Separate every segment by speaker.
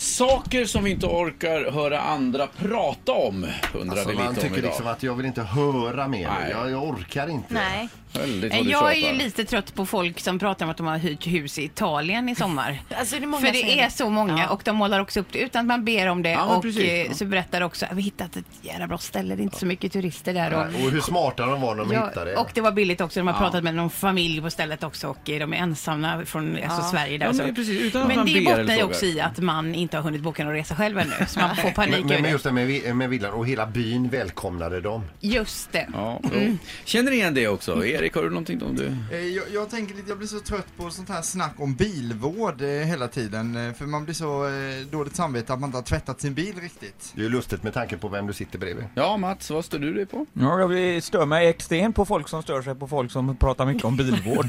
Speaker 1: Saker som vi inte orkar höra andra prata om undrar
Speaker 2: Alltså,
Speaker 1: vi
Speaker 2: man
Speaker 1: lite om
Speaker 2: tycker
Speaker 1: idag.
Speaker 2: liksom att jag vill inte höra mer.
Speaker 1: Nej.
Speaker 2: Jag, jag orkar inte.
Speaker 3: Nej.
Speaker 1: Väldigt vad du
Speaker 4: Jag är
Speaker 1: tjatar.
Speaker 4: ju lite trött på folk som pratar om att de har hyrt hus i Italien i sommar.
Speaker 3: Alltså, det är många
Speaker 4: För
Speaker 3: som
Speaker 4: det är så många och de målar också upp det utan att man ber om det.
Speaker 1: Ja, men
Speaker 4: och
Speaker 1: precis.
Speaker 4: eh,
Speaker 1: Ja.
Speaker 4: så berättar också att vi hittat ett jävla bra ställe, det är inte så mycket turister där. Och,
Speaker 2: Och hur smarta de var när de
Speaker 4: Ja,
Speaker 2: hittade det.
Speaker 4: och det var billigt också. De har pratat med någon familj på stället också och eh, de är ensamma från alltså, Sverige där.
Speaker 1: Ja,
Speaker 4: och så.
Speaker 1: men precis, utan att man
Speaker 4: men det
Speaker 1: ber
Speaker 4: bottnar
Speaker 1: eller
Speaker 4: ju
Speaker 1: frågar.
Speaker 4: också i att man inte har hunnit boka någon resa själv ännu. Så man får panik
Speaker 2: men, men,
Speaker 4: över
Speaker 2: men
Speaker 4: det.
Speaker 2: just det med, vi- med villan och hela byn välkomnade dem.
Speaker 4: Just det.
Speaker 1: Ja, jo.
Speaker 4: Mm.
Speaker 1: Känner igen det också? Erik, har du någonting om du?
Speaker 5: Eh, Jag, jag tänker lite, jag blir så trött på sånt här snack om bilvård eh, hela tiden. eh, För man blir så eh, dåligt samvete att man inte har tvättat sin bil riktigt.
Speaker 2: Det är ju lustigt med tanke på vem du sitter bredvid.
Speaker 1: Ja, Mats, vad står du dig på?
Speaker 6: Ja, jag blir- stör mig extremt på folk som stör sig på folk som pratar mycket om bilvård.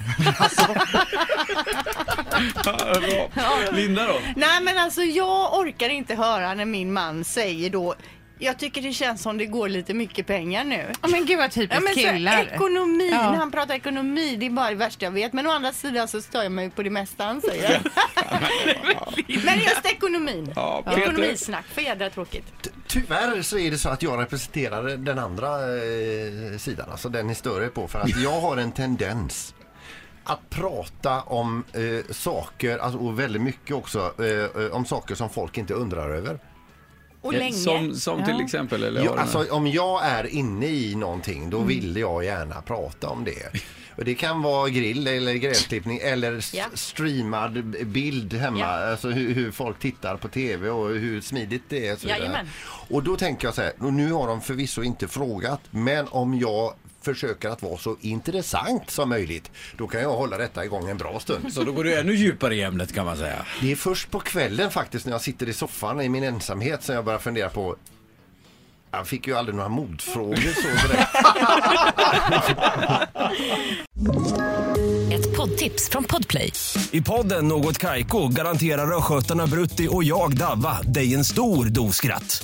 Speaker 1: Linda då?
Speaker 3: Nej men alltså jag orkar inte höra när min man säger då jag tycker det känns som det går lite mycket pengar nu.
Speaker 4: Ja, men gud vad
Speaker 3: Ja,
Speaker 4: typiskt
Speaker 3: men så,
Speaker 4: killar.
Speaker 3: ekonomi,
Speaker 4: Ja.
Speaker 3: när han pratar ekonomi, det är bara det värsta jag vet. Men å andra sidan så stör jag mig på det mesta han säger. men just ekonomin.
Speaker 1: Ja, Peter.
Speaker 3: Ekonomisnack, för jädra tråkigt.
Speaker 2: Ty- Tyvärr så är det så att jag representerar den andra eh, sidan, alltså den ni stör er på. För att jag har en tendens att prata om eh, saker, alltså, och väldigt mycket också, eh, eh, om saker som folk inte undrar över.
Speaker 3: Och
Speaker 1: Ja,
Speaker 3: länge.
Speaker 1: Som, som till
Speaker 4: Ja.
Speaker 1: exempel? Eller har
Speaker 2: Jag,
Speaker 1: du något?
Speaker 2: alltså, om jag är inne i någonting
Speaker 3: Mm.
Speaker 2: då vill jag gärna prata om det. Och det kan vara grill eller gräsklippning eller s-
Speaker 3: Ja.
Speaker 2: streamad b- bild hemma.
Speaker 3: Ja.
Speaker 2: Alltså hur, hur folk tittar på tv och hur smidigt det är. och Så vidare.
Speaker 3: Jajamän.
Speaker 2: och då tänker jag så här, och nu har de förvisso inte frågat men om jag försöker att vara så intressant som möjligt då kan jag hålla detta igång en bra stund.
Speaker 1: Så då går du ännu djupare i ämnet kan man säga.
Speaker 2: Det är först på kvällen faktiskt när jag sitter i soffan i min ensamhet som jag börjar fundera på jag fick ju aldrig några mordfrågor så direkt.
Speaker 7: Ett poddtips från Podplay.
Speaker 8: I podden Något Kaiko garanterar östgötarna Brutti och jag, Davva, dig en stor dos skratt.